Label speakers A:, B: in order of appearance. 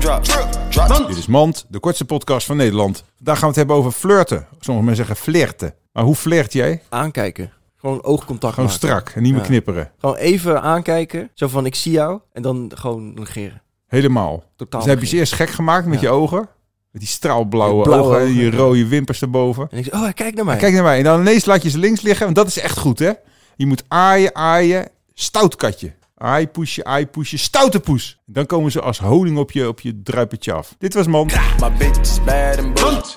A: drops. Drop.
B: Dit is Mand, de kortste podcast van Nederland. Vandaag gaan we het hebben over flirten. Sommigen mensen zeggen flirten. Maar hoe flirt jij?
C: Aankijken. Gewoon oogcontact
B: Gewoon
C: maken.
B: strak en niet meer
C: Ja.
B: knipperen.
C: Gewoon even aankijken. Zo van, ik zie jou. En dan gewoon negeren.
B: Helemaal. Dus dan
C: Totaal.
B: heb je ze
C: negeren.
B: eerst gek gemaakt met
C: Ja.
B: je ogen. Met die straalblauwe
C: Die blauwe
B: ogen en je
C: ogen.
B: rode wimpers erboven.
C: En ik zeg, oh, hij kijkt naar mij.
B: Kijk naar mij. En dan ineens laat je ze links liggen. Want dat is echt goed, hè? Je moet aaien, aaien. Stout katje. Aai poesje, aai poesje. Stoute poes. Dan komen ze als honing op je, op je druipetje af. Dit was Mand.
A: My bitch is bad and blunt.